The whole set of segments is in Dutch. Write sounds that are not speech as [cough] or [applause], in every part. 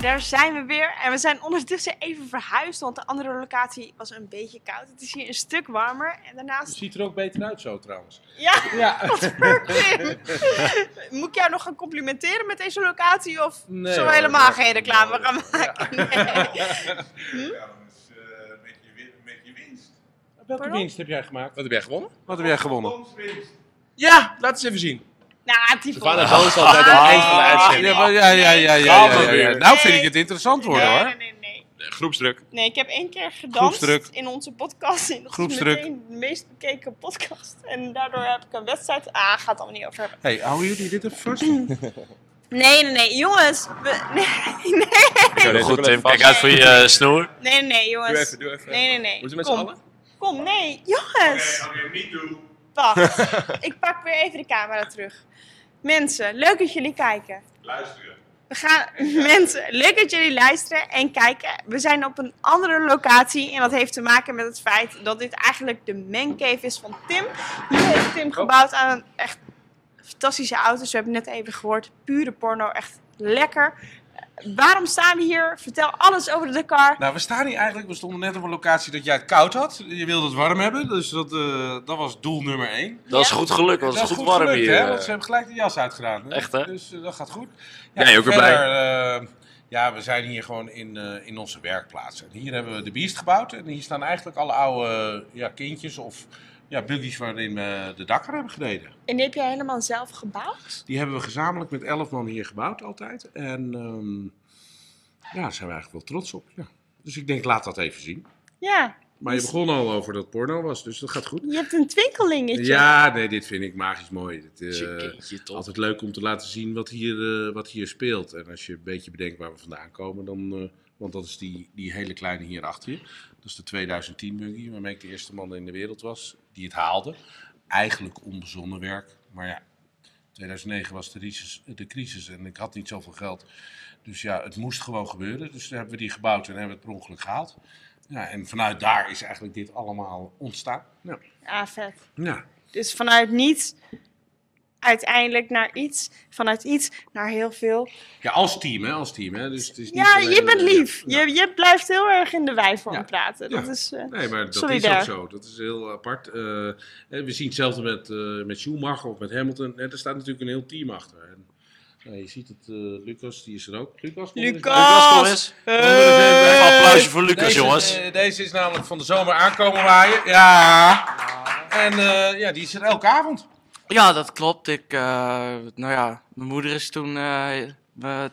daar zijn we weer. En we zijn ondertussen even verhuisd, want de andere locatie was een beetje koud. Het is hier een stuk warmer. En Het daarnaast... ziet er ook beter uit zo trouwens. Ja, [laughs] Ja. wat voor Tim. Moet ik jou nog gaan complimenteren met deze locatie? Of Nee, zullen we hoor, helemaal dat- geen reclame gaan maken? [laughs] Nee. Ja, dus eh, met, je, win- met je winst. Welke Pardon? winst heb jij gemaakt? Wat heb jij gewonnen? Wat heb jij gewonnen? Fondswinst. Ja, laat eens even zien. Nou, die We gaan volgende. het zo altijd aan het eind van de uitzending. nee. Ah, Ja, maar- ja, ja, ja, ja, ja, ja, ja. Nee. Nou vind ik het interessant worden nee, hoor. nee, nee, nee. Groepsdruk. Nee, ik heb één keer Groepsdruk. gedanst in onze podcast. En dat Groepsdruk. is meteen de meest bekeken podcast. En daardoor heb ik een wedstrijd. Ah, gaat het allemaal niet over hebben. Hey, houden jullie dit even vast? Nee, nee, nee. Jongens. we- [laughs] Nee, nee, Goed Tim, kijk uit voor je eh, snoer. nee, nee, jongens. doe even. Nee, nee, nee. Moeten we met Kom. z'n allen? Kom, nee. Oké, Jongens. oké, niet doen. Wacht. ik pak weer even de camera terug. Mensen, leuk dat jullie kijken. Luisteren. We gaan, mensen, leuk dat jullie luisteren en kijken. We zijn op een andere locatie en dat heeft te maken met het feit dat dit eigenlijk de mancave is van Tim. Hier heeft Oh. Tim gebouwd aan een echt fantastische auto's. We hebben net even gehoord, pure porno, echt lekker. Eh, Waarom staan we hier? Vertel alles over de Dakar. Nou, we staan hier eigenlijk. We stonden net op een locatie dat jij het koud had. Je wilde het warm hebben, dus dat, eh, dat was doel nummer één. Dat is goed geluk, want Dat het is is goed warm gelukt, hier. eh. Hè? Want ze hebben gelijk de jas uitgedaan. Hè? Echt, hè? Dus eh, dat gaat goed. Ja, ook weer verder, eh, ja, we zijn hier gewoon in, eh, in onze werkplaats. En hier hebben we de biest gebouwd. En hier staan eigenlijk alle oude ja, kindjes of ja, buggies waarin we de dakker hebben gereden. En die heb jij helemaal zelf gebouwd? Die hebben we gezamenlijk met elf man hier gebouwd altijd. En ehm, ja, daar zijn we eigenlijk wel trots op. Ja. Dus ik denk, laat dat even zien. Ja, Maar je begon al over dat porno was, dus dat gaat goed. je hebt een twinkelingetje. Ja, nee, dit vind ik magisch mooi. Dit, eh, Chickentje, toch? altijd leuk om te laten zien wat hier, eh, wat hier speelt. En als je een beetje bedenkt waar we vandaan komen, dan, eh, want dat is die, die hele kleine hier achter je. Dat is de 2010 buggy, waarmee ik de eerste man in de wereld was die het haalde. Eigenlijk onbezonnen werk, maar ja, 2009 was de crisis, de crisis en ik had niet zoveel geld. Dus ja, het moest gewoon gebeuren. Dus toen hebben we die gebouwd en hebben we het per ongeluk gehaald. Ja, en vanuit daar is eigenlijk dit allemaal ontstaan. Ja. Ah, vet. ja. Dus vanuit niets, uiteindelijk naar iets, vanuit iets naar heel veel. Ja, als team, hè? Als team, hè? Dus het is niet Ja, alleen- je bent lief. Ja. Je, je blijft heel erg in de wijvorm Ja. praten. Dat Ja. is, eh, Nee, maar dat Solidair. is ook zo. Dat is heel apart. Eh, eh, we zien hetzelfde met, eh, met Schumacher of met Hamilton. Eh, er staat natuurlijk een heel team achter. En, nou, je ziet het, eh, Lucas, die is er ook. Lucas, kom eens. Lucas! Lucas, kom eens. Hey! Applausje voor Lucas, Deze, jongens. eh, deze is namelijk van de zomer aankomen waaien. Ja. En eh, ja, die is er elke avond. Ja, dat klopt. Ik, eh, nou ja, mijn moeder is toen. eh, eh,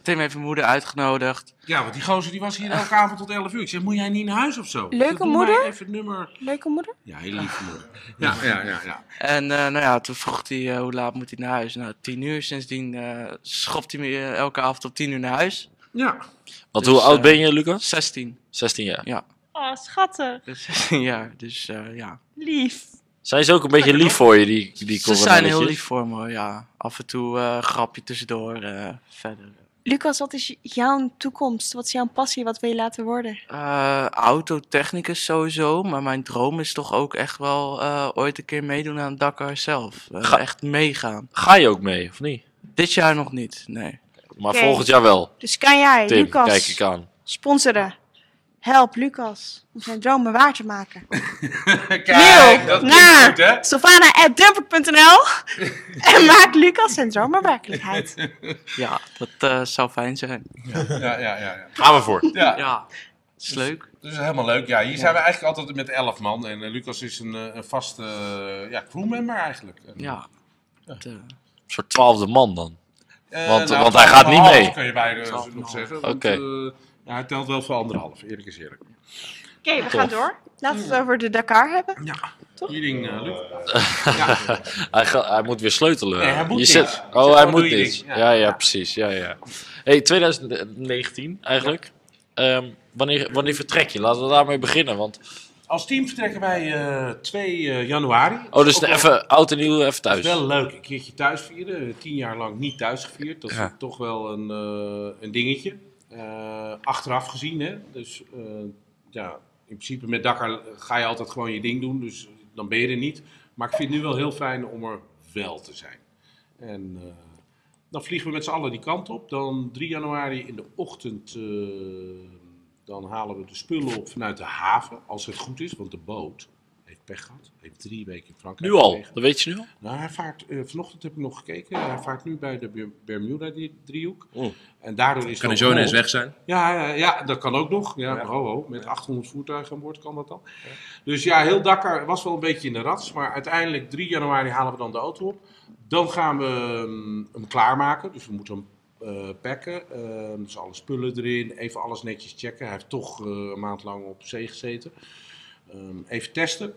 Tim heeft mijn moeder uitgenodigd. Ja, want die gozer die was hier elke avond tot 11 uur. Ik zeg, moet jij niet naar huis of zo? Leuke Doe mij moeder? Even het nummer. Leuke moeder? Ja, heel lief moeder. Ja, ja, ja. ja. En eh, nou ja, toen vroeg hij eh, hoe laat moet hij naar huis. Nou, tien uur. Sindsdien eh, schopt hij me eh, elke avond op tien uur naar huis. ja. Want Dus, hoe oud eh, ben je, Lucas? 16. 16 jaar. Oh, schattig. Dus 16 jaar. Dus eh, ja. Lief. Zijn ze ook een beetje lief voor je, die, die Ze zijn heel coronelletjes? lief voor me, ja. Af en toe eh, een grapje tussendoor. eh, verder. Lucas, wat is jouw toekomst? Wat is jouw passie? Wat wil je laten worden? Eh, autotechnicus sowieso, maar mijn droom is toch ook echt wel eh, ooit een keer meedoen aan Dakar zelf. Eh, Ga- Echt meegaan. Ga je ook mee, of niet? Dit jaar nog niet, nee. Maar Oké. volgend jaar wel. Dus kan jij, Tim, Lucas, kijk ik aan. sponsoren? Help Lucas om zijn dromen waar te maken. Kijk, dat klinkt naar goed, hè? [laughs] sylvana@dumper.nl en maak Lucas zijn dromen werkelijkheid. Ja, dat eh, zou fijn zijn. Ja, ja, ja. ja. Gaan we voor. ja. Ja, het is leuk. Dus helemaal leuk. Ja, hier zijn we eigenlijk altijd met elf man. En eh, Lucas is een, eh, een vaste eh, ja, crewmember eigenlijk. En, Ja. Het, eh, Een soort twaalfde man dan. eh, Want- nou, want hij gaat niet anderhalf mee. kun je bijna eh, Anderhalf. nog zeggen. want, Oké. eh, ja, hij telt wel voor anderhalf, eerlijk is eerlijk. Oké, we gaan door. Laten we het over de Dakar hebben. Ja, Toch? hier ding, eh, Lucas. Hij, ga- hij moet weer sleutelen. Nee, hij moet je niks. zit, Zeg oh, maar, hij doe moet je niks. ding. Ja, Ja. ja, precies. Ja, ja. Hey, 2019 eigenlijk. Ehm, wanneer, wanneer vertrek je? Laten we daarmee beginnen. Want, Als team vertrekken wij eh, 2 eh, januari. oh, dus Ook wel- even oud en nieuw, even Dat is thuis. wel leuk, een keertje thuis vieren. Eh, Tien jaar lang niet thuis gevierd. Dat is Ja. toch wel een, eh, een dingetje. Eh, achteraf gezien, hè. Dus eh, ja, in principe met Dakar ga je altijd gewoon je ding doen. Dus dan ben je er niet. Maar ik vind het nu wel heel fijn om er wel te zijn. En eh, Dan vliegen we met z'n allen die kant op. Dan 3 januari in de ochtend. eh, dan halen we de spullen op vanuit de haven. Als het goed is, want de boot heeft pech gehad. Heeft drie weken in Frankrijk. Nu al, gelegen. dat weet je nu al. Nou, hij vaart, eh, vanochtend heb ik nog gekeken. Hij vaart nu bij de Bir- Bermuda-driehoek. Oh. En daardoor is Kan hij hij zo ineens weg zijn? ja, ja, ja, dat kan ook nog. Ja, Ho, ho, met 800 voertuigen aan boord kan dat dan. Dus ja, heel Dakar was wel een beetje in de rats. Maar uiteindelijk 3 januari halen we dan de auto op. Dan gaan we ehm, hem klaarmaken. Dus we moeten hem eh, packen. Ehm, dus alle spullen erin. Even alles netjes checken. Hij heeft toch eh, een maand lang op zee gezeten. Ehm, even testen.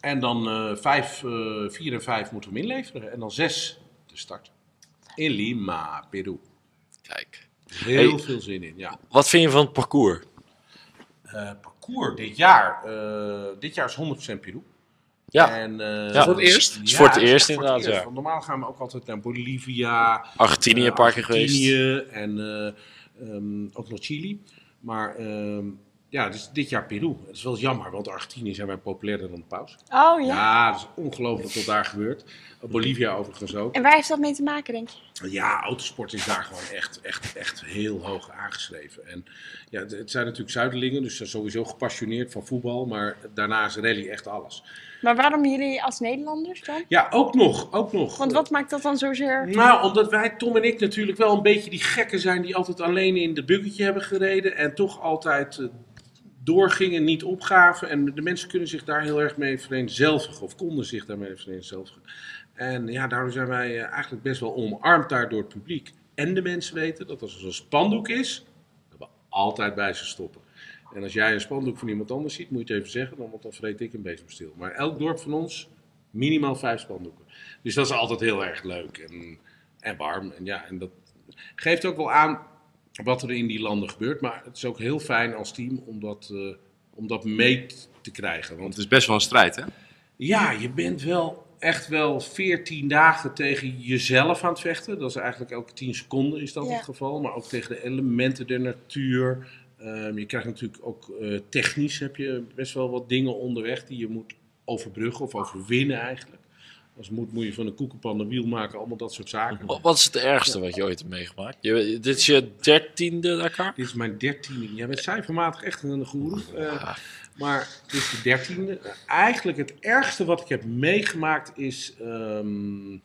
En dan eh, 5, 4 en 5 moeten we hem inleveren. En dan 6 de start. In Lima, Peru. Kijk. Heel Hey. veel zin in, ja. Wat vind je van het parcours? Eh, parcours dit jaar. eh, dit jaar is 100% Peru. Ja, En, eh, Ja, Voor het eerst? is voor het is echt eerst inderdaad, ja. Want normaal gaan we ook altijd naar Bolivia, Argentinië een eh, paar keer geweest. Argentinië en eh, ehm, ook nog Chili. Maar ehm, ja, dus dit jaar Peru. Dat is wel jammer, want Argentinië zijn wij populairder dan de paus. Oh ja. Ja, dat is ongelooflijk wat daar gebeurt. Bolivia overigens ook. En waar heeft dat mee te maken, denk je? Ja, autosport is daar gewoon echt, echt, echt heel hoog aangeschreven. En ja, het- het zijn natuurlijk Zuiderlingen, dus ze zijn sowieso gepassioneerd van voetbal. Maar daarna is rally echt alles. Maar waarom jullie als Nederlanders dan? Ja, ook nog, ook nog. Want wat maakt dat dan zozeer? Nou, omdat wij, Tom en ik, natuurlijk wel een beetje die gekken zijn die altijd alleen in de bukketje hebben gereden. En toch altijd eh, doorgingen, niet opgaven. En de mensen kunnen zich daar heel erg mee vereenzelvigen. Of konden zich daarmee vereenzelvigen. En ja, daardoor zijn wij eh, eigenlijk best wel omarmd daar door het publiek. En de mensen weten dat als er zo'n spandoek is, dat we altijd bij ze stoppen. En als jij een spandoek van iemand anders ziet, moet je het even zeggen, dan- want dan vreet ik een bezemstil. Maar elk dorp van ons, minimaal vijf spandoeken. Dus dat is altijd heel erg leuk en, en warm. En ja, en dat geeft ook wel aan wat er in die landen gebeurt. Maar het is ook heel fijn als team om dat, eh, om dat mee t- te krijgen. Want Want het is best wel een strijd, hè? ja, je bent wel echt wel 14 dagen tegen jezelf aan het vechten. Dat is eigenlijk elke 10 seconden is dat Ja. het geval. Maar ook tegen de elementen der natuur. Ehm, je krijgt natuurlijk ook eh, technisch heb je best wel wat dingen onderweg die je moet overbruggen of overwinnen eigenlijk. Als moet moet je van een koekenpan een wiel maken, allemaal dat soort zaken. Wa- Wat is het ergste wat je ooit hebt meegemaakt? Je, dit is je dertiende Dakar? Dit is mijn dertiende. Jij bent cijfermatig echt een goeroe. Eh, maar dit is de dertiende. Eigenlijk het ergste wat ik heb meegemaakt is ehm,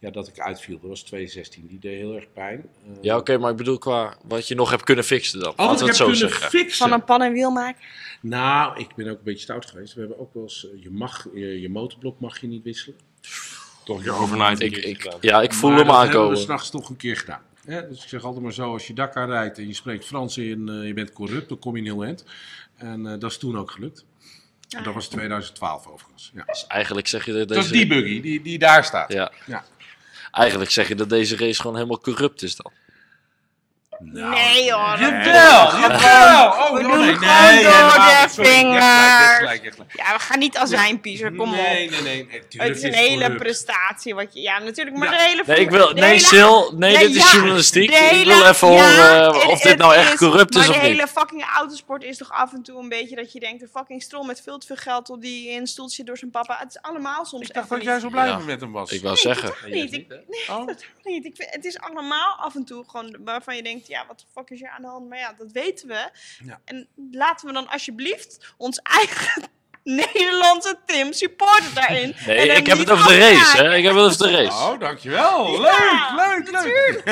ja, dat ik uitviel. Dat was 2016. Die deed heel erg pijn. Eh, Ja, oké, maar ik bedoel qua wat je nog hebt kunnen fixen dan. Al wat Laten ik we heb het zo kunnen zeggen. fixen. Van een pan en wiel maken? Nou, ik ben ook een beetje stout geweest. We hebben ook wel eens, eh, je, mag, je, je motorblok mag je niet wisselen. Toch je overnight. Ik, ik, ja, ik voel maar hem dat hebben we aankomen. s'nachts toch een keer gedaan. Hè, dus ik zeg altijd maar zo, als je Dakar rijdt en je spreekt Frans in, eh, je bent corrupt, dan kom je in heel eind. En eh, dat is toen ook gelukt. En dat was 2012 overigens. Ja. Dus eigenlijk zeg je dat Dat is die deze... buggy die, die daar staat. Ja. Ja. Eigenlijk zeg je dat deze race gewoon helemaal corrupt is dan. Nou, nee hoor. Jawel, jawel. we Oh, nee, doen nee, het nee, gewoon door helemaal de niet. Sorry, je hebt gelijk, je hebt vingers. gelijk, je hebt gelijk. Ja, we gaan niet azijnpiezer, kom op. Nee, nee, nee. nee, tuurlijk het is een het hele corrupt. prestatie wat je... Ja, natuurlijk, maar Ja. de hele... Nee, ik wil, de nee hele- Sil, nee, Ja, dit is ja. journalistiek. De hele- Ik wil even ja, horen eh, het- of dit het nou echt corrupt is maar of de niet. hele fucking autosport is toch af en toe een beetje dat je denkt... een fucking strol met veel te veel geld op die in een stoeltje zit door zijn papa. Het is allemaal soms Ik dacht even dat jij niet. zo blij Ja. met hem was. Ik wou [laughs] zeggen. Niet, ik, nee, dat hoeft niet. Ik vind, het is allemaal af en toe gewoon waarvan je denkt... ja, wat de fuck is hier aan de hand? Maar ja, dat weten we. Ja. En laten we dan alsjeblieft ons eigen... [laughs] Nederlandse Tim supporten daarin. [laughs] Nee, En hem ik heb niet het over de race, afkraken. hè. Ik heb het over [laughs] de race. Oh, dankjewel. Leuk, Ja, leuk, natuurlijk.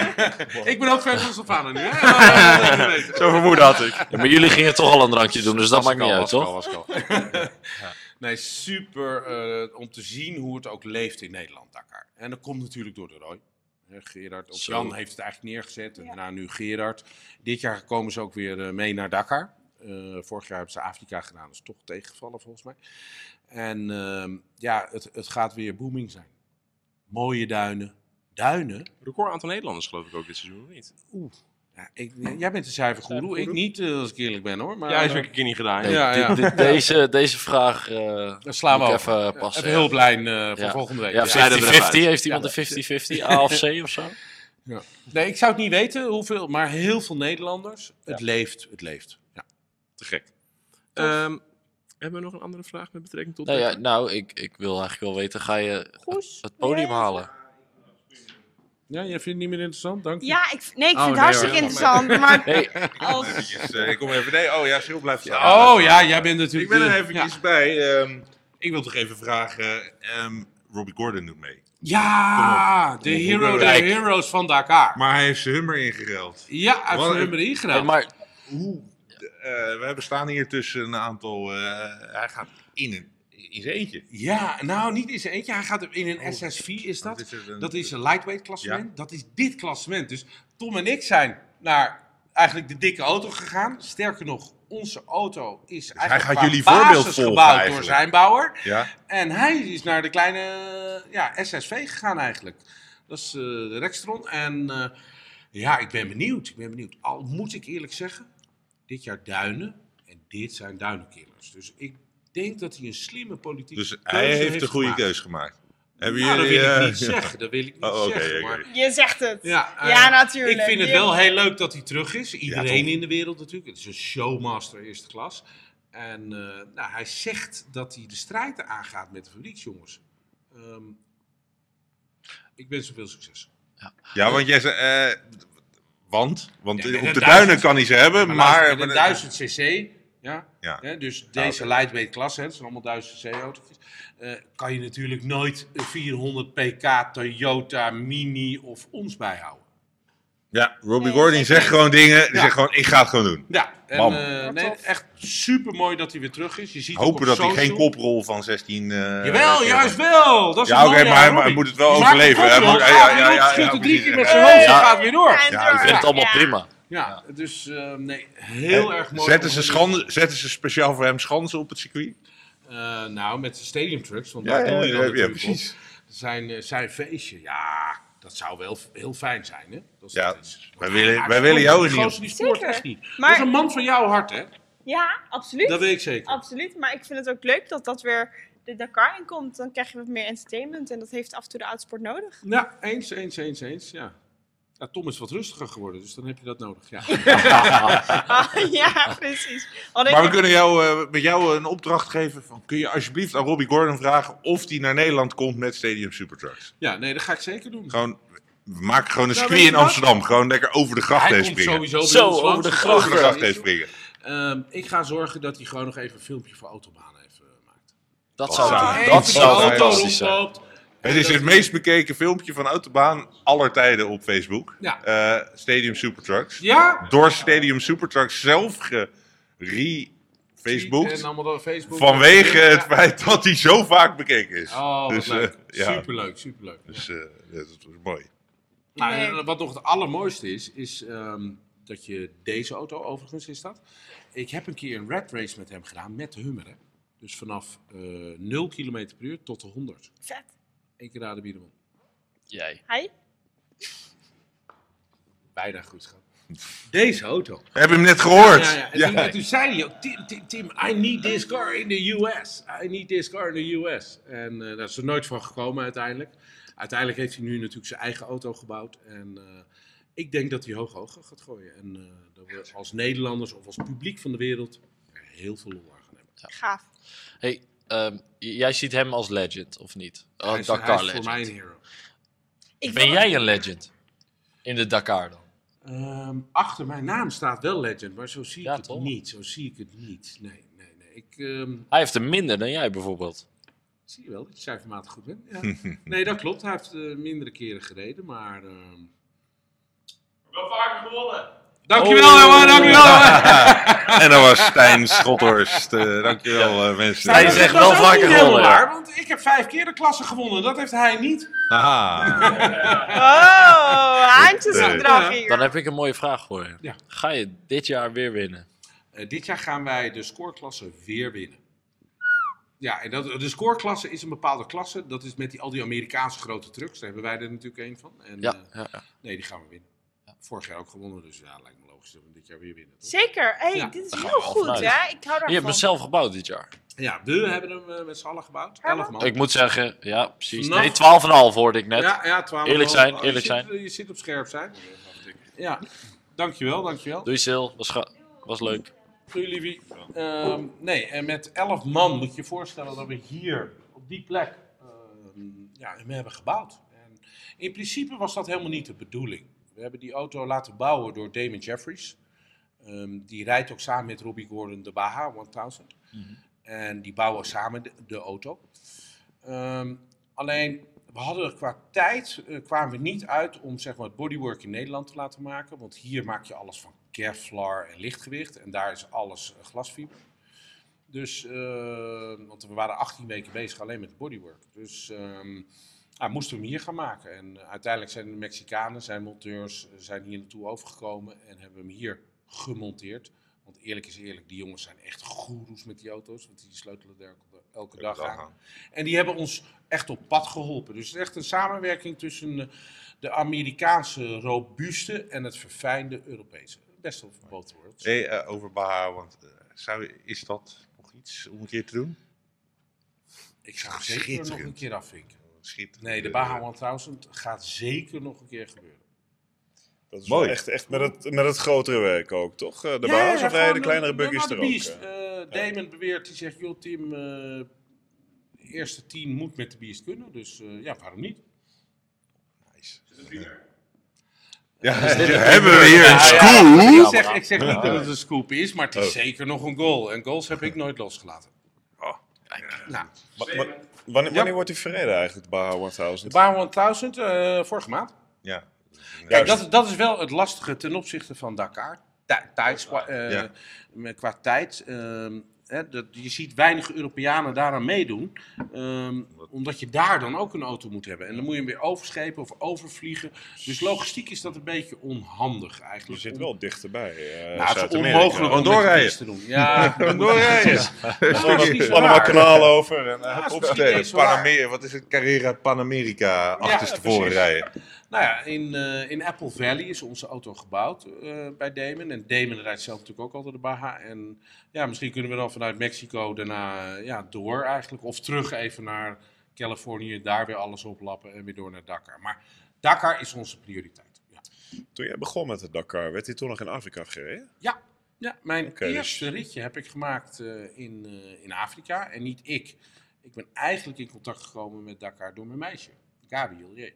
leuk. [laughs] Ik ben ook fan van Stefano nu. [laughs] hè? Zo vermoed had ik. Ja, maar jullie gingen toch al een drankje doen, dus dat maakt niet uit, toch? Nee, super eh, om te zien hoe het ook leeft in Nederland, Dakar. En dat komt natuurlijk door de Roy. Hè, Gerard of Zo. Jan heeft het eigenlijk neergezet. En Ja. daarna nu Gerard. Dit jaar komen ze ook weer eh, mee naar Dakar. Eh, vorig jaar hebben ze Afrika gedaan, dat is toch tegengevallen volgens mij. En ehm, ja, het, het gaat weer booming zijn. Mooie duinen. Duinen? Record aantal Nederlanders geloof ik ook dit seizoen, of niet? Ja, ik, jij bent de cijfergoeroe, ik niet, eh, als ik eerlijk ben hoor. Maar, Ja, is eh, ook een keer niet gedaan. Nee, Ja, ja. dit- [laughs] dit- deze, deze vraag eh dan slaan we moet ik over. even eh, Even passen. heel blij eh, voor Ja. volgende week. Ja, Ja, vrijdag 50-50. eruit. Heeft iemand een 50-50 [laughs] A of C of zo? Nee, ik zou het niet weten hoeveel, maar heel veel Nederlanders. Het leeft, het leeft. Ja. Te gek. Ehm, hebben we nog een andere vraag met betrekking tot... Nou, ja, Dakar? nou ik, ik wil eigenlijk wel weten, ga je Goes. het podium Nee. halen? Ja, jij vindt het niet meer interessant? Dank je. Ja, ik, nee, ik vind Oh, nee, het hartstikke hoor. interessant. [laughs] Maar Nee, als, [laughs] Eventjes, eh, ik kom even. Nee, oh ja, Sil blijft staan. Oh ja, jij bent Ik natuurlijk... ben er de- eventjes bij. ehm, ik wil toch even vragen. ehm, Robbie Gordon doet mee. Ja, de, Kom op. hero, de Kijk. heroes van Dakar. Maar hij heeft zijn hummer ingereld. Ja, uit Wat zijn een- nummer nee, ingedaan. maar Hoe? eh, we hebben staan hier tussen een aantal. eh, hij gaat in, een, in zijn eentje. Ja, nou niet in zijn eentje. Hij gaat in Oh, een SS4 is dat. is er een- Dat is een lightweight klassement. Dat is dit klassement. Dus Tom en ik zijn naar eigenlijk de dikke auto gegaan. Sterker nog, onze auto is eigenlijk Dus gaat qua jullie basis voorbeeld volgen gebouwd door eigenlijk. zijn bouwer. Ja. En hij is naar de kleine eh, ja, SSV gegaan eigenlijk. Dat is eh, de Rextron. En eh, ja, ik ben benieuwd. Ik ben benieuwd. Al moet ik eerlijk zeggen, dit jaar duinen. En dit zijn duinenkillers. Dus ik denk dat hij een slimme politieke Dus keuze hij heeft de goede gemaakt. keuze gemaakt. Hebben Nou, dat jullie, wil ik eh, niet zeggen. Dat wil ik niet Oh, oké, zeggen. oké. maar- je zegt het. Ja, ja, eh, natuurlijk. ik vind het Je- wel heel leuk dat hij terug is. Iedereen toch? in de wereld natuurlijk. Het is een showmaster eerste klas. En eh, nou, hij zegt dat hij de strijd aangaat met de fabrieksjongens. Ehm, ik wens hem veel succes. Ja, want jij zei. eh, want? Want Ja, met op een de duizend- duinen kan hij ze hebben, maar. luister, maar- met een 1000 cc, ja, Ja. hè, dus Nou, oké. deze lightweight klasse, hè, het zijn allemaal 1000 cc autootjes, eh, kan je natuurlijk nooit een 400 pk Toyota Mini of ons bijhouden. Ja, Robbie Nee, Gordon zeker zegt niet. gewoon dingen. Die Ja. zegt gewoon: ik ga het gewoon doen. Ja, en, Bam. eh, Wat nee, tof. echt super mooi dat hij weer terug is. Je ziet ook Hopen op dat hij geen social- koprol van 16. eh Jawel, eh, juist wel. Dat is Ja, een oké, mooie maar hij- Robbie. hij moet het wel Die maakt een overleven. Hij kopbal, moet- ja, gaat weer ja, op, ja, schiet ja, er drie precies. keer met Ja. zijn hoofd en Ja. gaat weer door. En Ja, ik door. ik vind het allemaal Ja. prima. Ja, dus eh, nee, heel erg mooi. Zetten om ze, te schande, zetten ze speciaal voor hem schansen op het circuit? zien. Eh, nou, met de stadium trucks, want Ja, daar ja, doe je ja, dan ja, natuurlijk precies. op. Zijn, eh, zijn feestje, ja, dat zou wel f- heel fijn zijn, hè? Dat is- Ja, dat is- wij dat willen- gaat wij willen jou Die hier. gozer die spoort Zeker. echt niet. Maar- Dat is een man van jouw hart, hè? Ja, absoluut. Dat weet ik zeker. Absoluut, maar ik vind het ook leuk dat dat weer de Dakar in komt. Dan krijg je wat meer entertainment en dat heeft af en toe de autosport [laughs] nodig. Ja, eens, eens, eens, eens, ja. Ja, Tom is wat rustiger geworden, dus dan heb je dat nodig. Ja. Ah, ja, precies. Al denk Maar we ik- kunnen jou, eh, met jou een opdracht geven. Van, kun je alsjeblieft aan Robbie Gordon vragen of hij naar Nederland komt met Stadium Supertrucks? ja, nee, dat ga ik zeker doen. Gewoon, we maken gewoon een Nou, circuit weet in je wat? Amsterdam. Gewoon lekker over de gracht Hij heen komt springen. sowieso bij Zo, ons over langs. de Dat gracht. Over de is gracht wel heen iets. springen. Ehm, ik ga zorgen dat hij gewoon nog even een filmpje voor Autobaan heeft eh, gemaakt. Dat zou- zou, dat dat zou zou fantastisch fantastisch zijn. Het is het meest bekeken filmpje van Autobaan aller tijden op Facebook. Ja. Eh, Stadium Supertrucks. Ja? Door Stadium Supertrucks zelf gere En Facebookt allemaal door Facebook. Vanwege het Ja. feit dat hij zo vaak bekeken is. Oh, wat dus, leuk. eh, ja. Superleuk, superleuk. Dus eh, dat is mooi. Nou, en Nee. wat nog het allermooiste is, is ehm, dat je deze auto, overigens is dat. Ik heb een keer een red race met hem gedaan, met de Hummer. Hè. Dus vanaf eh 0 km per uur tot de 100. Vet. Eén keer raden wie er won. Jij. Hij? Bijna goed [laughs] gaan. Deze auto. Heb je hem net gehoord? Ja, ja. En, Toen, en toen zei hij ook, Tim, Tim, Tim, I need this car in the US. I need this car in the US. En eh, daar is er nooit van gekomen uiteindelijk. Uiteindelijk heeft hij nu natuurlijk zijn eigen auto gebouwd. En eh, ik denk dat hij hoog hoger gaat gooien. En eh, dat we als Nederlanders of als publiek van de wereld er heel veel lol aan gaan hebben. Gaaf. Hey, ehm, j- jij ziet hem als legend, of niet? Oh, Hij is- hij Dakar is voor legend. mij een hero. Ik Ben wil- jij een legend? In de Dakar dan? Ehm, achter mijn naam staat wel Legend, maar zo zie ik Ja, het toch? niet. Zo zie ik het niet. Nee, nee, nee. Ik, ehm, Hij heeft er minder dan jij bijvoorbeeld. Zie je wel dat je cijfermatig goed bent? Ja. [laughs] nee, dat klopt. Hij heeft eh, mindere keren gereden, maar... ehm, Wel vaker gewonnen. Dankjewel, jongen, dankjewel. jongen. en dat was Stijn Schothorst. Eh, dankjewel eh, mensen. Stijn Dat is- zegt dat wel is ook niet vaker helemaal gewonnen, ja. waar, want ik heb vijf keer de klasse gewonnen. Dat heeft hij niet. Aha. [laughs] Oh, haantjesgedrag hier. Dan heb ik een mooie vraag voor je. Ja. Ga je dit jaar weer winnen? Eh, dit jaar gaan wij de scoreklasse weer winnen. Ja, en dat, de scoreklasse is een bepaalde klasse. Dat is met die, al die Amerikaanse grote trucks. Daar hebben wij er natuurlijk één van. En, Ja. eh, ja, ja. nee, die gaan we winnen. Vorig jaar ook gewonnen, dus ja, lijkt me logisch dat we dit jaar weer winnen. toch? Zeker. hey, Ja, dit is daar heel gaan we wel goed, vanuit. hè? Ik hou Je hebt hem daarvan. zelf gebouwd dit jaar. Ja, we hebben hem eh, met z'n allen gebouwd. Herman? Elf man. Ik moet zeggen, ja, precies. Vanaf- Nee, 12,5 hoorde ik net. Ja, ja, 12 Eerlijk zijn, Oh, eerlijk je zit- zijn. je zit op scherp zijn. Ja, dankjewel, dankjewel. Doei Sil, was, ga- was leuk. Doei, lievie. Ehm, nee, en met 11 man moet je je voorstellen dat we hier op die plek ehm, ja, hem hebben gebouwd. En In principe was dat helemaal niet de bedoeling. We hebben die auto laten bouwen door Damon Jeffries. Ehm, die rijdt ook samen met Robbie Gordon de Baja 1000. Mhm. En die bouwen samen de, de auto. Ehm, alleen, we hadden qua tijd, eh, kwamen we niet uit om zeg maar, het bodywork in Nederland te laten maken. Want hier maak je alles van Kevlar en lichtgewicht. En daar is alles eh, glasfiber. Dus, eh, want we waren 18 weken bezig alleen met het bodywork. Dus ehm, ah, moesten we hem hier gaan maken. En eh, uiteindelijk zijn de Mexicanen, zijn monteurs, eh, zijn hier naartoe overgekomen en hebben hem hier gemonteerd. Want eerlijk is eerlijk, die jongens zijn echt goeroes met die auto's. Want die sleutelen er elke, elke dag eh, aan. En die hebben ons echt op pad geholpen. Dus het is echt een samenwerking tussen eh, de Amerikaanse robuuste en het verfijnde Europese. Best wel voor both worlds. Hey, eh, over Baha, want eh, zou, is dat nog iets om een keer te doen? Ik ah, zou hem zeker nog een schitterend. keer afvinken. Schiet. Nee, de Baja 1000 gaat zeker nog een keer gebeuren. Dat is Mooi. wel echt, echt met, het, met het grotere werk ook, toch? Eh, De Ja, baas ja, of ja, rijden de gewoon kleinere de- de buggies Mother er ook? Beast. eh? Eh, Damon beweert, die zegt, joh team, eh het eerste team moet met de Beast kunnen. Dus eh, ja, waarom niet? Ja, Dus dit- hebben we hier een Ah, Ja, ja, school. ja, Ik ja, zeg, maar- ik zeg [laughs] niet dat het een scoop is, maar het is Oh. zeker nog een goal. En goals heb ik nooit losgelaten. Nou, Wa- wa- wanneer, Ja. wanneer wordt die verreden eigenlijk, de Baha de 1000? Baja 1000 eh, vorige maand. Ja. Kijk, Juist. dat, dat is wel het lastige ten opzichte van Dakar. Tij- Tijds, qua, eh, Ja. met- qua tijd. ehm, hè, dat, je ziet weinig Europeanen daaraan meedoen. ehm, omdat je daar dan ook een auto moet hebben. En dan moet je hem weer overschepen of overvliegen. Dus logistiek is dat een beetje onhandig Je eigenlijk. zit om- wel dichterbij. eh Nou, het is Zuid-Amerika. onmogelijk om Gewoon met doorrijden. de fiets te doen. Ja, [laughs] Kan doorrijden. Er dat is niet is zo wel allemaal waar. kanaal over. En, eh, Ja, is hop. misschien niet eens zo waar. Panamer- wat is het? Carrera Panamerica achterstevoren precies. rijden. Nou ja, in, eh, in Apple Valley is onze auto gebouwd eh, bij Damon. En Damon rijdt zelf natuurlijk ook altijd de Baja. En ja, misschien kunnen we dan vanuit Mexico daarna eh, ja, door eigenlijk. Of terug even naar Californië, daar weer alles oplappen en weer door naar Dakar. Maar Dakar is onze prioriteit. Ja, Toen jij begon met de Dakar, werd hij toen nog in Afrika gereden? ja, ja mijn Oké, dus- eerste ritje heb ik gemaakt eh, in, eh, in Afrika. En niet ik. Ik ben eigenlijk in contact gekomen met Dakar door mijn meisje, Gabriel J.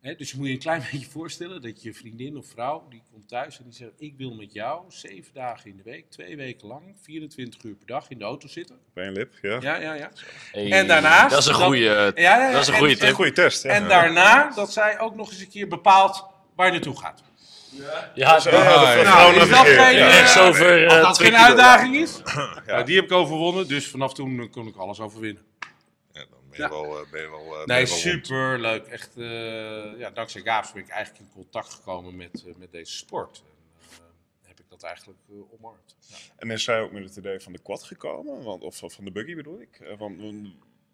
Hè, dus je moet je een klein [laughs] beetje voorstellen dat je vriendin of vrouw, die komt thuis en die zegt, ik wil met jou zeven dagen in de week, twee weken lang, 24 uur per dag in de auto zitten. Op één lip, ja. Ja, ja, ja. Hey, En daarnaast- Dat is een dat- goeie. eh, ja, ja, ja. Dat is een En- goede en- tip. Een goede test. ja. En daarna dat zij ook nog eens een keer bepaalt waar je naartoe gaat. Ja, Ja, Ah, dat- dat- Nou, vrouwen is dat navigeren, geen, ja. eh, Echt over, eh, Als dat twee geen kilo. uitdaging [clears throat] is. Nou, die heb ik overwonnen, dus vanaf toen kon ik alles overwinnen. Ja, dan ben je Ja. wel... eh, Ben je wel eh, ben je Nee, wel super leuk. Echt, eh, ja, dankzij Gaafs ben ik eigenlijk in contact gekomen met, eh, met deze sport. En, eh, heb ik dat eigenlijk eh, omarmd. Ja. En is zij ook met het idee van de quad gekomen? Want, of van de buggy bedoel ik? Eh, Want, want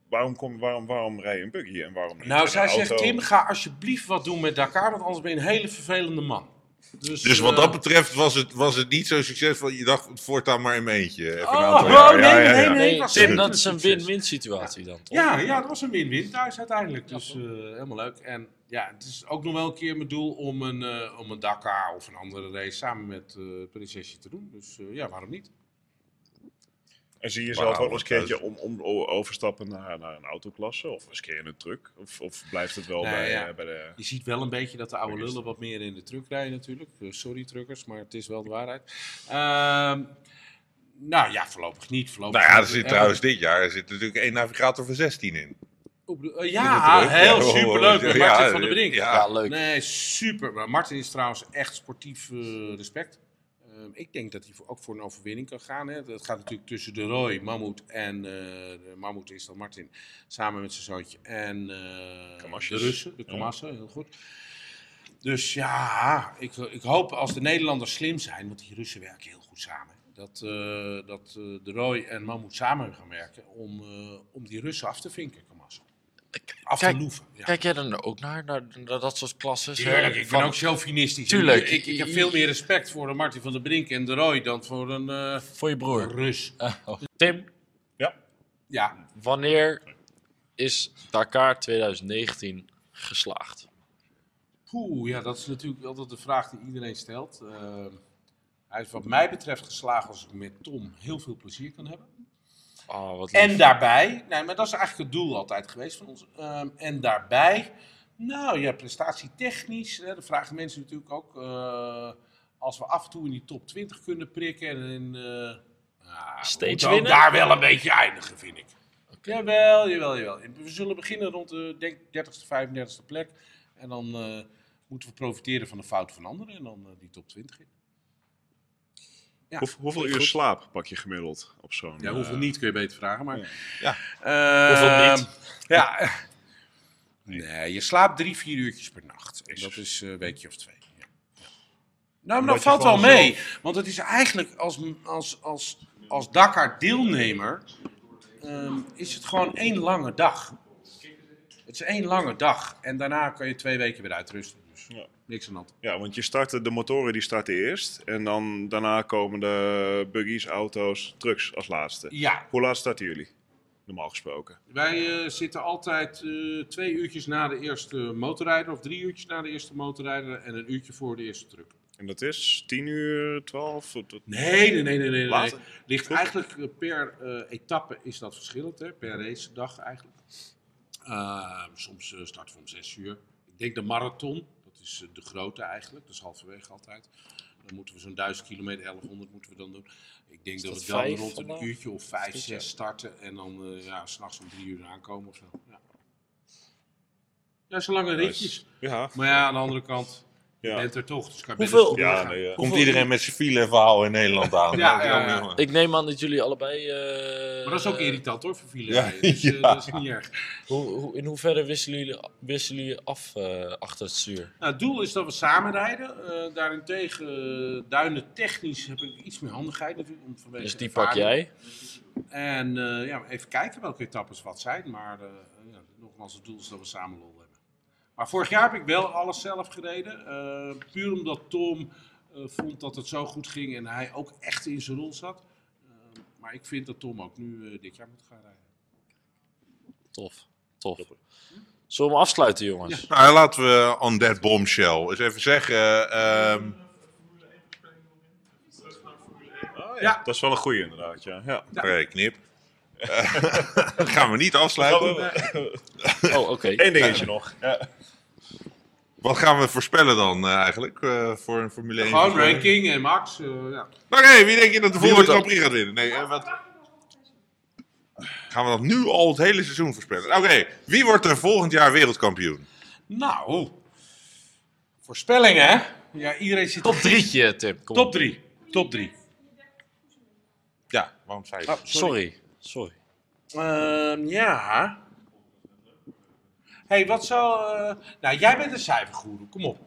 waarom, kom, waarom, waarom rij je een buggy en waarom niet Nou, met zij een zegt, auto? Tim, ga alsjeblieft wat doen met Dakar, want anders ben je een hele vervelende man. Dus, Dus wat eh, dat betreft was het, was het niet zo succesvol. Je dacht voortaan maar in mijn eentje. eh, Even een Oh, aantal oh, jaar. nee, Ja, ja, nee, ja. nee. Nee, was Tim, een dat is een succes. win-win situatie dan. toch? Eh, Ja, ja, dat was een win-win thuis uiteindelijk. Dus eh, helemaal leuk. En ja, het is ook nog wel een keer mijn doel om een, eh, om een Dakar of een andere race samen met eh Prinsesje te doen. Dus eh, ja, waarom niet? En zie je jezelf Wauw, ook nog eens een keertje thuis. om, om o- overstappen naar, naar een autoklasse? Of eens een keer in een truck? Of, of blijft het wel Nee, bij, ja. eh, bij de... Je ziet wel een beetje dat de oude lullen wat meer in de truck rijden natuurlijk. Eh, Sorry truckers, maar het is wel de waarheid. [laughs] Ehm, nou ja, voorlopig niet. Voorlopig [laughs] Nou ja, er niet. zit Eh, trouwens dit jaar er zit natuurlijk één navigator van 16 in. op de- eh, ja, In de truck. heel Ja, superleuk met Martin ja, van der Brink. Ja, Ja, leuk. Nee, super. Maar Martin is trouwens echt sportief eh, respect. Ehm, ik denk dat hij voor, ook voor een overwinning kan gaan. Hè. Dat gaat natuurlijk tussen de Roy, Mammoet en eh de Mammoet is dan Martin samen met zijn zoontje en eh, de Kamasjes. Russen, de Kamassen, heel goed. Dus ja, ik, ik hoop als de Nederlanders slim zijn, want die Russen werken heel goed samen. Dat, eh, dat eh, de Roy en Mammoet samen gaan werken om, eh, om die Russen af te vinken, Kamassen. Af te Kijk, loeven. Ja. Kijk jij dan ook naar, naar, naar dat soort klasses? Tuurlijk, eh, ik van- ben ook chauvinistisch. Tuurlijk. Ik, ik heb veel meer respect voor de Martin van der Brink en de Roy dan voor een eh, Voor je broer. Rus. Eh, Tim, Ja, wanneer is Dakar 2019 geslaagd? poeh, ja, dat is natuurlijk altijd de vraag die iedereen stelt. Eh, hij is wat mij betreft geslaagd als ik met Tom heel veel plezier kan hebben. Oh, wat lief. En daarbij, nee, maar dat is eigenlijk het doel altijd geweest van ons. Ehm, en daarbij Nou ja, prestatietechnisch. Hè, dat vragen mensen natuurlijk ook. eh, als we af en toe in die top 20 kunnen prikken en in, eh, nou, we Steeds moeten ook winnen? daar wel een beetje eindigen, vind ik. Jawel, jawel, jawel. En We zullen beginnen rond de denk, 30ste, 35ste plek. En dan eh, moeten we profiteren van de fouten van anderen en dan eh, die top 20 in. Ja, Hoe- hoeveel goed. uur slaap pak je gemiddeld op zo'n... Ja, hoeveel eh, niet kun je beter vragen, maar... Ja. Eh, Hoeveel niet? Ja. [laughs] Nee, je slaapt drie, vier uurtjes per nacht. En dat is eh, een weekje of twee. Ja. Ja. Nou, maar Omdat dat je valt wel gewoon mee. Want het is eigenlijk als, als, als, als Dakar-deelnemer... ehm, is het gewoon één lange dag. Het is één lange dag. En daarna kan je twee weken weer uitrusten. Dus Ja. niks aan de hand. Ja, want je starten, de motoren die starten eerst. En dan daarna komen de buggies, auto's, trucks als laatste. Ja, Hoe laat starten jullie? Normaal gesproken. Wij eh, zitten altijd eh, twee uurtjes na de eerste motorrijder, of drie uurtjes na de eerste motorrijder en een uurtje voor de eerste truck. En dat is 10 uur, 12? tot- tot- Nee, nee, nee, nee. nee, nee. Later? Ligt eigenlijk eh, per eh, etappe is dat verschillend, hè? per race dag eigenlijk. Ehm, soms eh, starten we om zes uur. Ik denk de marathon, dat is eh, de grote eigenlijk, dat is halverwege altijd. Dan moeten we zo'n 1000 kilometer, 1100 moeten we dan doen. Ik denk dat, dat we dan vijf rond vandaag? een uurtje of vijf, Is dat zes starten en dan eh, ja, s'nachts om drie uur aankomen of zo. Ja, ja zo lange ritjes. Ja. Maar ja, aan de andere kant, je Ja. bent er toch. Dus kan Hoeveel- Ja, nee, ja. Komt iedereen met zijn file verhaal in Nederland aan. Ja, ja, ja. Ik neem aan dat jullie allebei... eh, Maar dat is ook eh, irritant hoor, voor file. Ja, rijden. dus, eh, [laughs] ja. dat is niet erg. Hoe, hoe, in hoeverre wisselen jullie, wisselen jullie af eh, achter het stuur? Nou, het doel is dat we samen rijden. Eh, daarentegen, eh, duinen technisch heb ik iets meer handigheid natuurlijk. Om vanwege Dus die pak ervaring. jij. En eh, ja, even kijken welke etappes wat zijn. Maar eh, ja, nogmaals, het doel is dat we samen lol hebben. Maar vorig jaar heb ik wel alles zelf gereden. eh, puur omdat Tom eh, vond dat het zo goed ging en hij ook echt in zijn rol zat. Eh, maar ik vind dat Tom ook nu eh, dit jaar moet gaan rijden. Tof, tof. Zullen we hem afsluiten, jongens? Nou, laten we on that bombshell eens even zeggen. ehm, Ah, ja. Ja. Dat is wel een goeie inderdaad, ja. ja. Oké, knip. Dat [laughs] gaan we niet afsluiten. Oh, oké. [laughs] Eén dingetje nog. eh, Ja. Wat gaan we voorspellen dan eh, eigenlijk eh, voor een Formule 1? Gewoon voorspelling? ranking en Max. eh, ja. Maar nee, wie denk je dat de volgende wordt Grand Prix gaat winnen? Nee, eh, wat... Gaan we dat nu al het hele seizoen voorspellen? Oké, wie wordt er volgend jaar wereldkampioen? Nou, voorspellingen hè? Ja, iedereen zit Top drietje, Tim. Kom. Top drie. Top drie. Ja, waarom zei je Oh, dat? Sorry. Sorry. Ehm, ja. hey, wat zou... eh, Nou, jij bent een cijfergoeroe, kom op.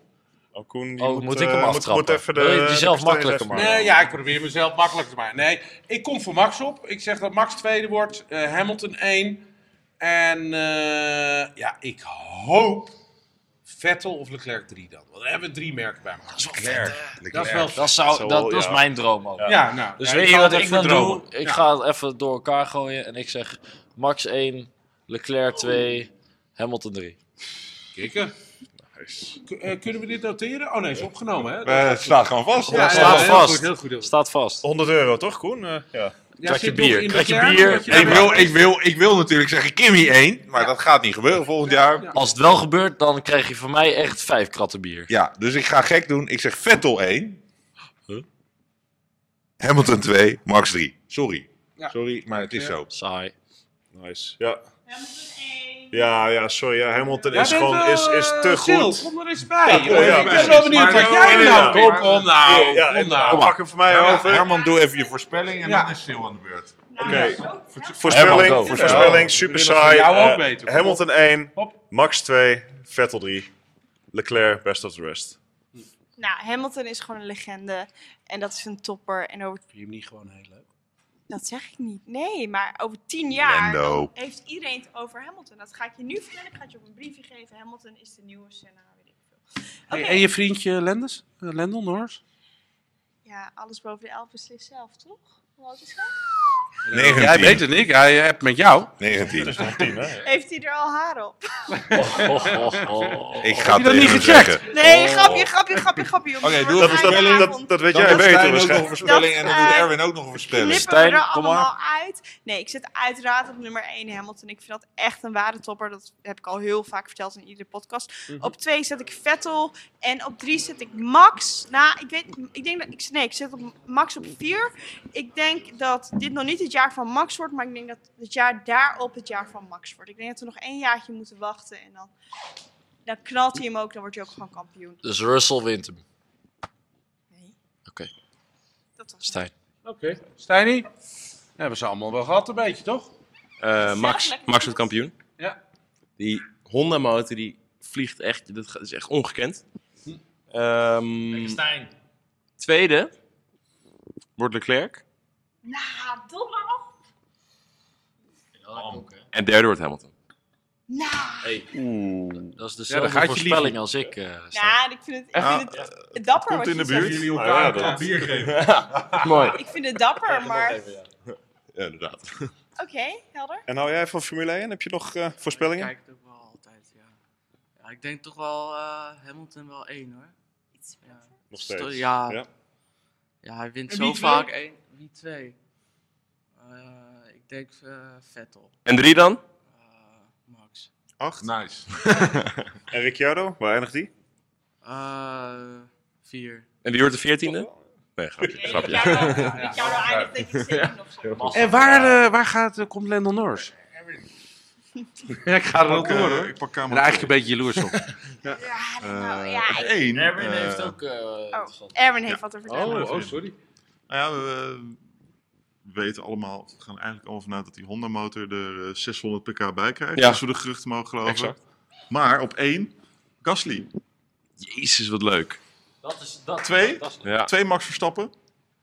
Oh, Koen, je Oh, moet, moet ik eh, hem moet- aftrappen? moet even de, Wil je die de zelf kastanje makkelijker even- maken? Nee, Eh, ja, ik probeer mezelf makkelijk te maken. Nee, ik kom voor Max op. Ik zeg dat Max tweede wordt, eh, Hamilton 1. En eh, ja, ik hoop Vettel of Leclerc 3 dan. Want dan hebben we drie merken bij elkaar. Dat is wel Dat is wel Dat, zou, Zo, dat, dat is ja. mijn droom ook. Ja, nou. Dus ja, weet ik je ga wat het ik even dan dromen. doe? Ik Ja. ga het even door elkaar gooien en ik zeg Max 1, Leclerc 2, Hamilton 3. Kikken. K- eh, kunnen we dit noteren? Oh nee, is opgenomen hè? Eh, het staat gewoon vast. Ja, staat heel vast. goed, heel goed, heel goed. Staat vast. 100 euro, toch Koen? Eh, ja. Ja, Kratje zit bier, nog in kratje Leclerc, bier. kratje Ik Leclerc. wil, ik, wil, ik wil natuurlijk zeggen Kimmy 1, maar dat gaat niet gebeuren volgend jaar. Ja. Als het wel gebeurt, dan krijg je van mij echt vijf kratten bier. Ja, dus ik ga gek doen. Ik zeg Vettel 1. Hamilton 2, Max 3. Sorry. Ja. Sorry, maar het is zo. [laughs] Saai. Nice. Ja, Hamilton ja, ja sorry. Ja, Hamilton Jij is bent gewoon wel, is, is eh, te chill, goed. Kom er eens bij. ja, joh. ik ben precies. wel benieuwd wat Maar- jij Ja, nou... Kom, kom nou, Ja, kom ja, nou. pak hem voor mij over. Herman, doe even je voorspelling en Ja. dan is Sil aan de beurt. Oké. Herman, go. Voorspelling, voorspelling, super saai. jou ook Eh, weten. Hamilton 1, Hop. Max 2, Vettel 3. Leclerc, best of the rest. Nou, Hamilton is gewoon een legende. En dat is een topper. En over, Vind je hem niet gewoon heel leuk? dat zeg ik niet. Nee, maar over tien jaar Lando. dan heeft iedereen het over Hamilton. Dat ga ik je nu vertellen. Ik ga het je op een briefje geven. Hamilton is de nieuwe Senna, weet ik veel. Oké, Hey, en je vriendje Lendes? Eh, Lendel Norris? ja, alles boven de elf beslist zelf, toch? Hoe oud is hij? Jij 19. weet het niet, hij hebt met jou. 19. Heeft hij er al haar op? Oh, oh, oh. Ik ga je dat niet het tegen hem gecheckt? zeggen. Nee, grapje, grapje, grapje, grapje. jongens. Oh. Oké, doe We even gaan Dat, spelling. vanavond- dat, dat weet Dan jij doet beter Stijn ook nog een waarschijnlijk. voorspelling en dan Dat, doet eh, Erwin ook nog een voorspelling. knippen we Stijn, er kom allemaal uit. Nee, ik zit uiteraard op nummer 1 Hamilton. Ik vind dat echt een waardetopper. Dat heb ik al heel vaak verteld in iedere podcast. Op 2 zet ik Vettel. En op 3 zet ik Max. Nou, ik weet, ik denk dat ik, nee, ik zet op Max op 4. Ik denk dat dit nog niet het jaar van Max wordt, maar ik denk dat het jaar daarop het jaar van Max wordt. Ik denk dat we nog één jaartje moeten wachten en dan, dan knalt hij hem ook, dan wordt hij ook gewoon kampioen. Dus Russell wint hem. Nee. Oké, Dat was Stijn. Oké. Stijnie? Hebben ze allemaal wel gehad, een beetje, toch? Eh, Max, Max wordt kampioen. Ja. Die Honda-motor die vliegt echt, dat gaat- is echt ongekend. Ehm, Stijn. tweede wordt Leclerc. Nou, toch nog? En derde wordt Hamilton. Nou, Dat is dus dan dezelfde gaat je voorspelling als ik. eh, Stijn. nou, ik vind het, ik vind het eh, dapper wat Komt in je de zegt. buurt. Jullie Ah, ja, elkaar dat- een bier geven. Ah, Mooi. Ik vind het dapper, maar oké, Ja, inderdaad. helder. En hou jij van Formule 1? Heb je nog eh, Ik voorspellingen? kijk het ook wel altijd, ja. ja ik denk toch wel eh, Hamilton wel één hoor. Ja, Nog steeds. Sto- Ja, Ja. ja. hij wint En zo wie twee? vaak één. Wie twee? Eh, ik denk eh, Vettel. En drie dan? Eh, Max. Acht. Nice. En Ricciardo, waar eindigt die? Eh, vier. En wie wordt de veertiende? Nee, grapje. Ik grapje. jou nou eindigt denk ik zin of zo. En waar, eh, waar gaat, eh, komt Lando Norris? ja, ik ga er wel Ook, door, eh, hoor. Ik Ik pak kamer. ben eigenlijk een beetje jaloers op. Ja, nou, Eh, ja, ik- één. Erwin eh, heeft ook... eh, interessant. Erwin heeft wat te vertellen. Oh, oh, sorry. Nou ja, we, eh, weten allemaal, we gaan eigenlijk allemaal vanuit dat die Honda-motor er eh, 600 pk bij krijgt. Ja. Als we de geruchten mogen geloven. Exact. Maar op één, Gasly. Jezus, wat leuk. Dat is, dat, Twee? dat is- Ja. Twee Max Verstappen.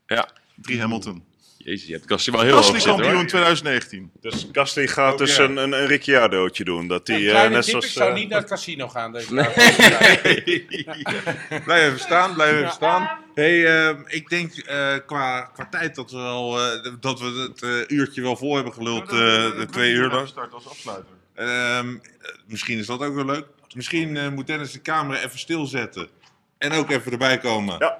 Ja. Drie Hamilton. Jezus, je hebt Gasly wel heel Gasly hoog zitten, kampioen hoor. 2019. Dus Gasly gaat dus een, een, een Ricciardootje doen. Dat die, Een eh, kleine net tip, zoals... ik zou eh, niet naar het casino gaan. Deze Blijf even staan, blijf even staan. hey, ehm, ik denk eh, qua, qua tijd dat we, al, eh, dat we het eh, uurtje wel vol hebben geluld. eh, de twee uur lang. start als afsluiter. Ehm, eh, misschien is dat ook wel leuk. Misschien eh, moet Dennis de camera even stilzetten. En ook even erbij komen. Ja.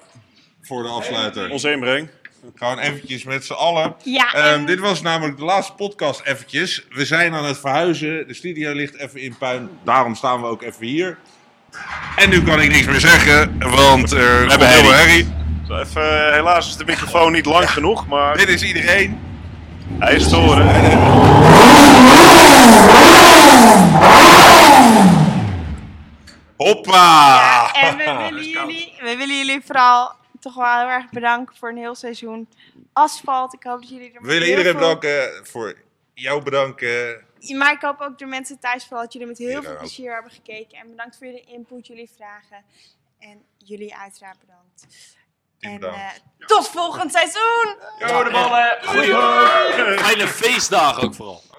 Voor de afsluiter. Ons inbreng. Gewoon eventjes met z'n allen. Ja, Ehm, en- dit was namelijk de laatste podcast eventjes. We zijn aan het verhuizen. De studio ligt even in puin. Daarom staan we ook even hier. En nu kan ik niks meer zeggen, want er komt hebben heel herrie. herrie. Zo, even, eh, helaas is de microfoon niet lang genoeg, maar Dit is iedereen. hij is te horen. Hoppa! Ja, Ah. [laughs] en we willen, jullie, we willen jullie vooral toch wel heel erg bedanken voor een heel seizoen asfalt. Ik hoop dat jullie er We willen heel iedereen veel- bedanken voor jou bedanken. Maar ik hoop ook de mensen thuis vooral dat jullie met heel Iedereen veel ook. plezier hebben gekeken. En bedankt voor jullie input, jullie vragen. En jullie uiteraard bedankt. Team En bedankt. eh, tot volgend seizoen! Goeie. Fijne feestdagen ook vooral.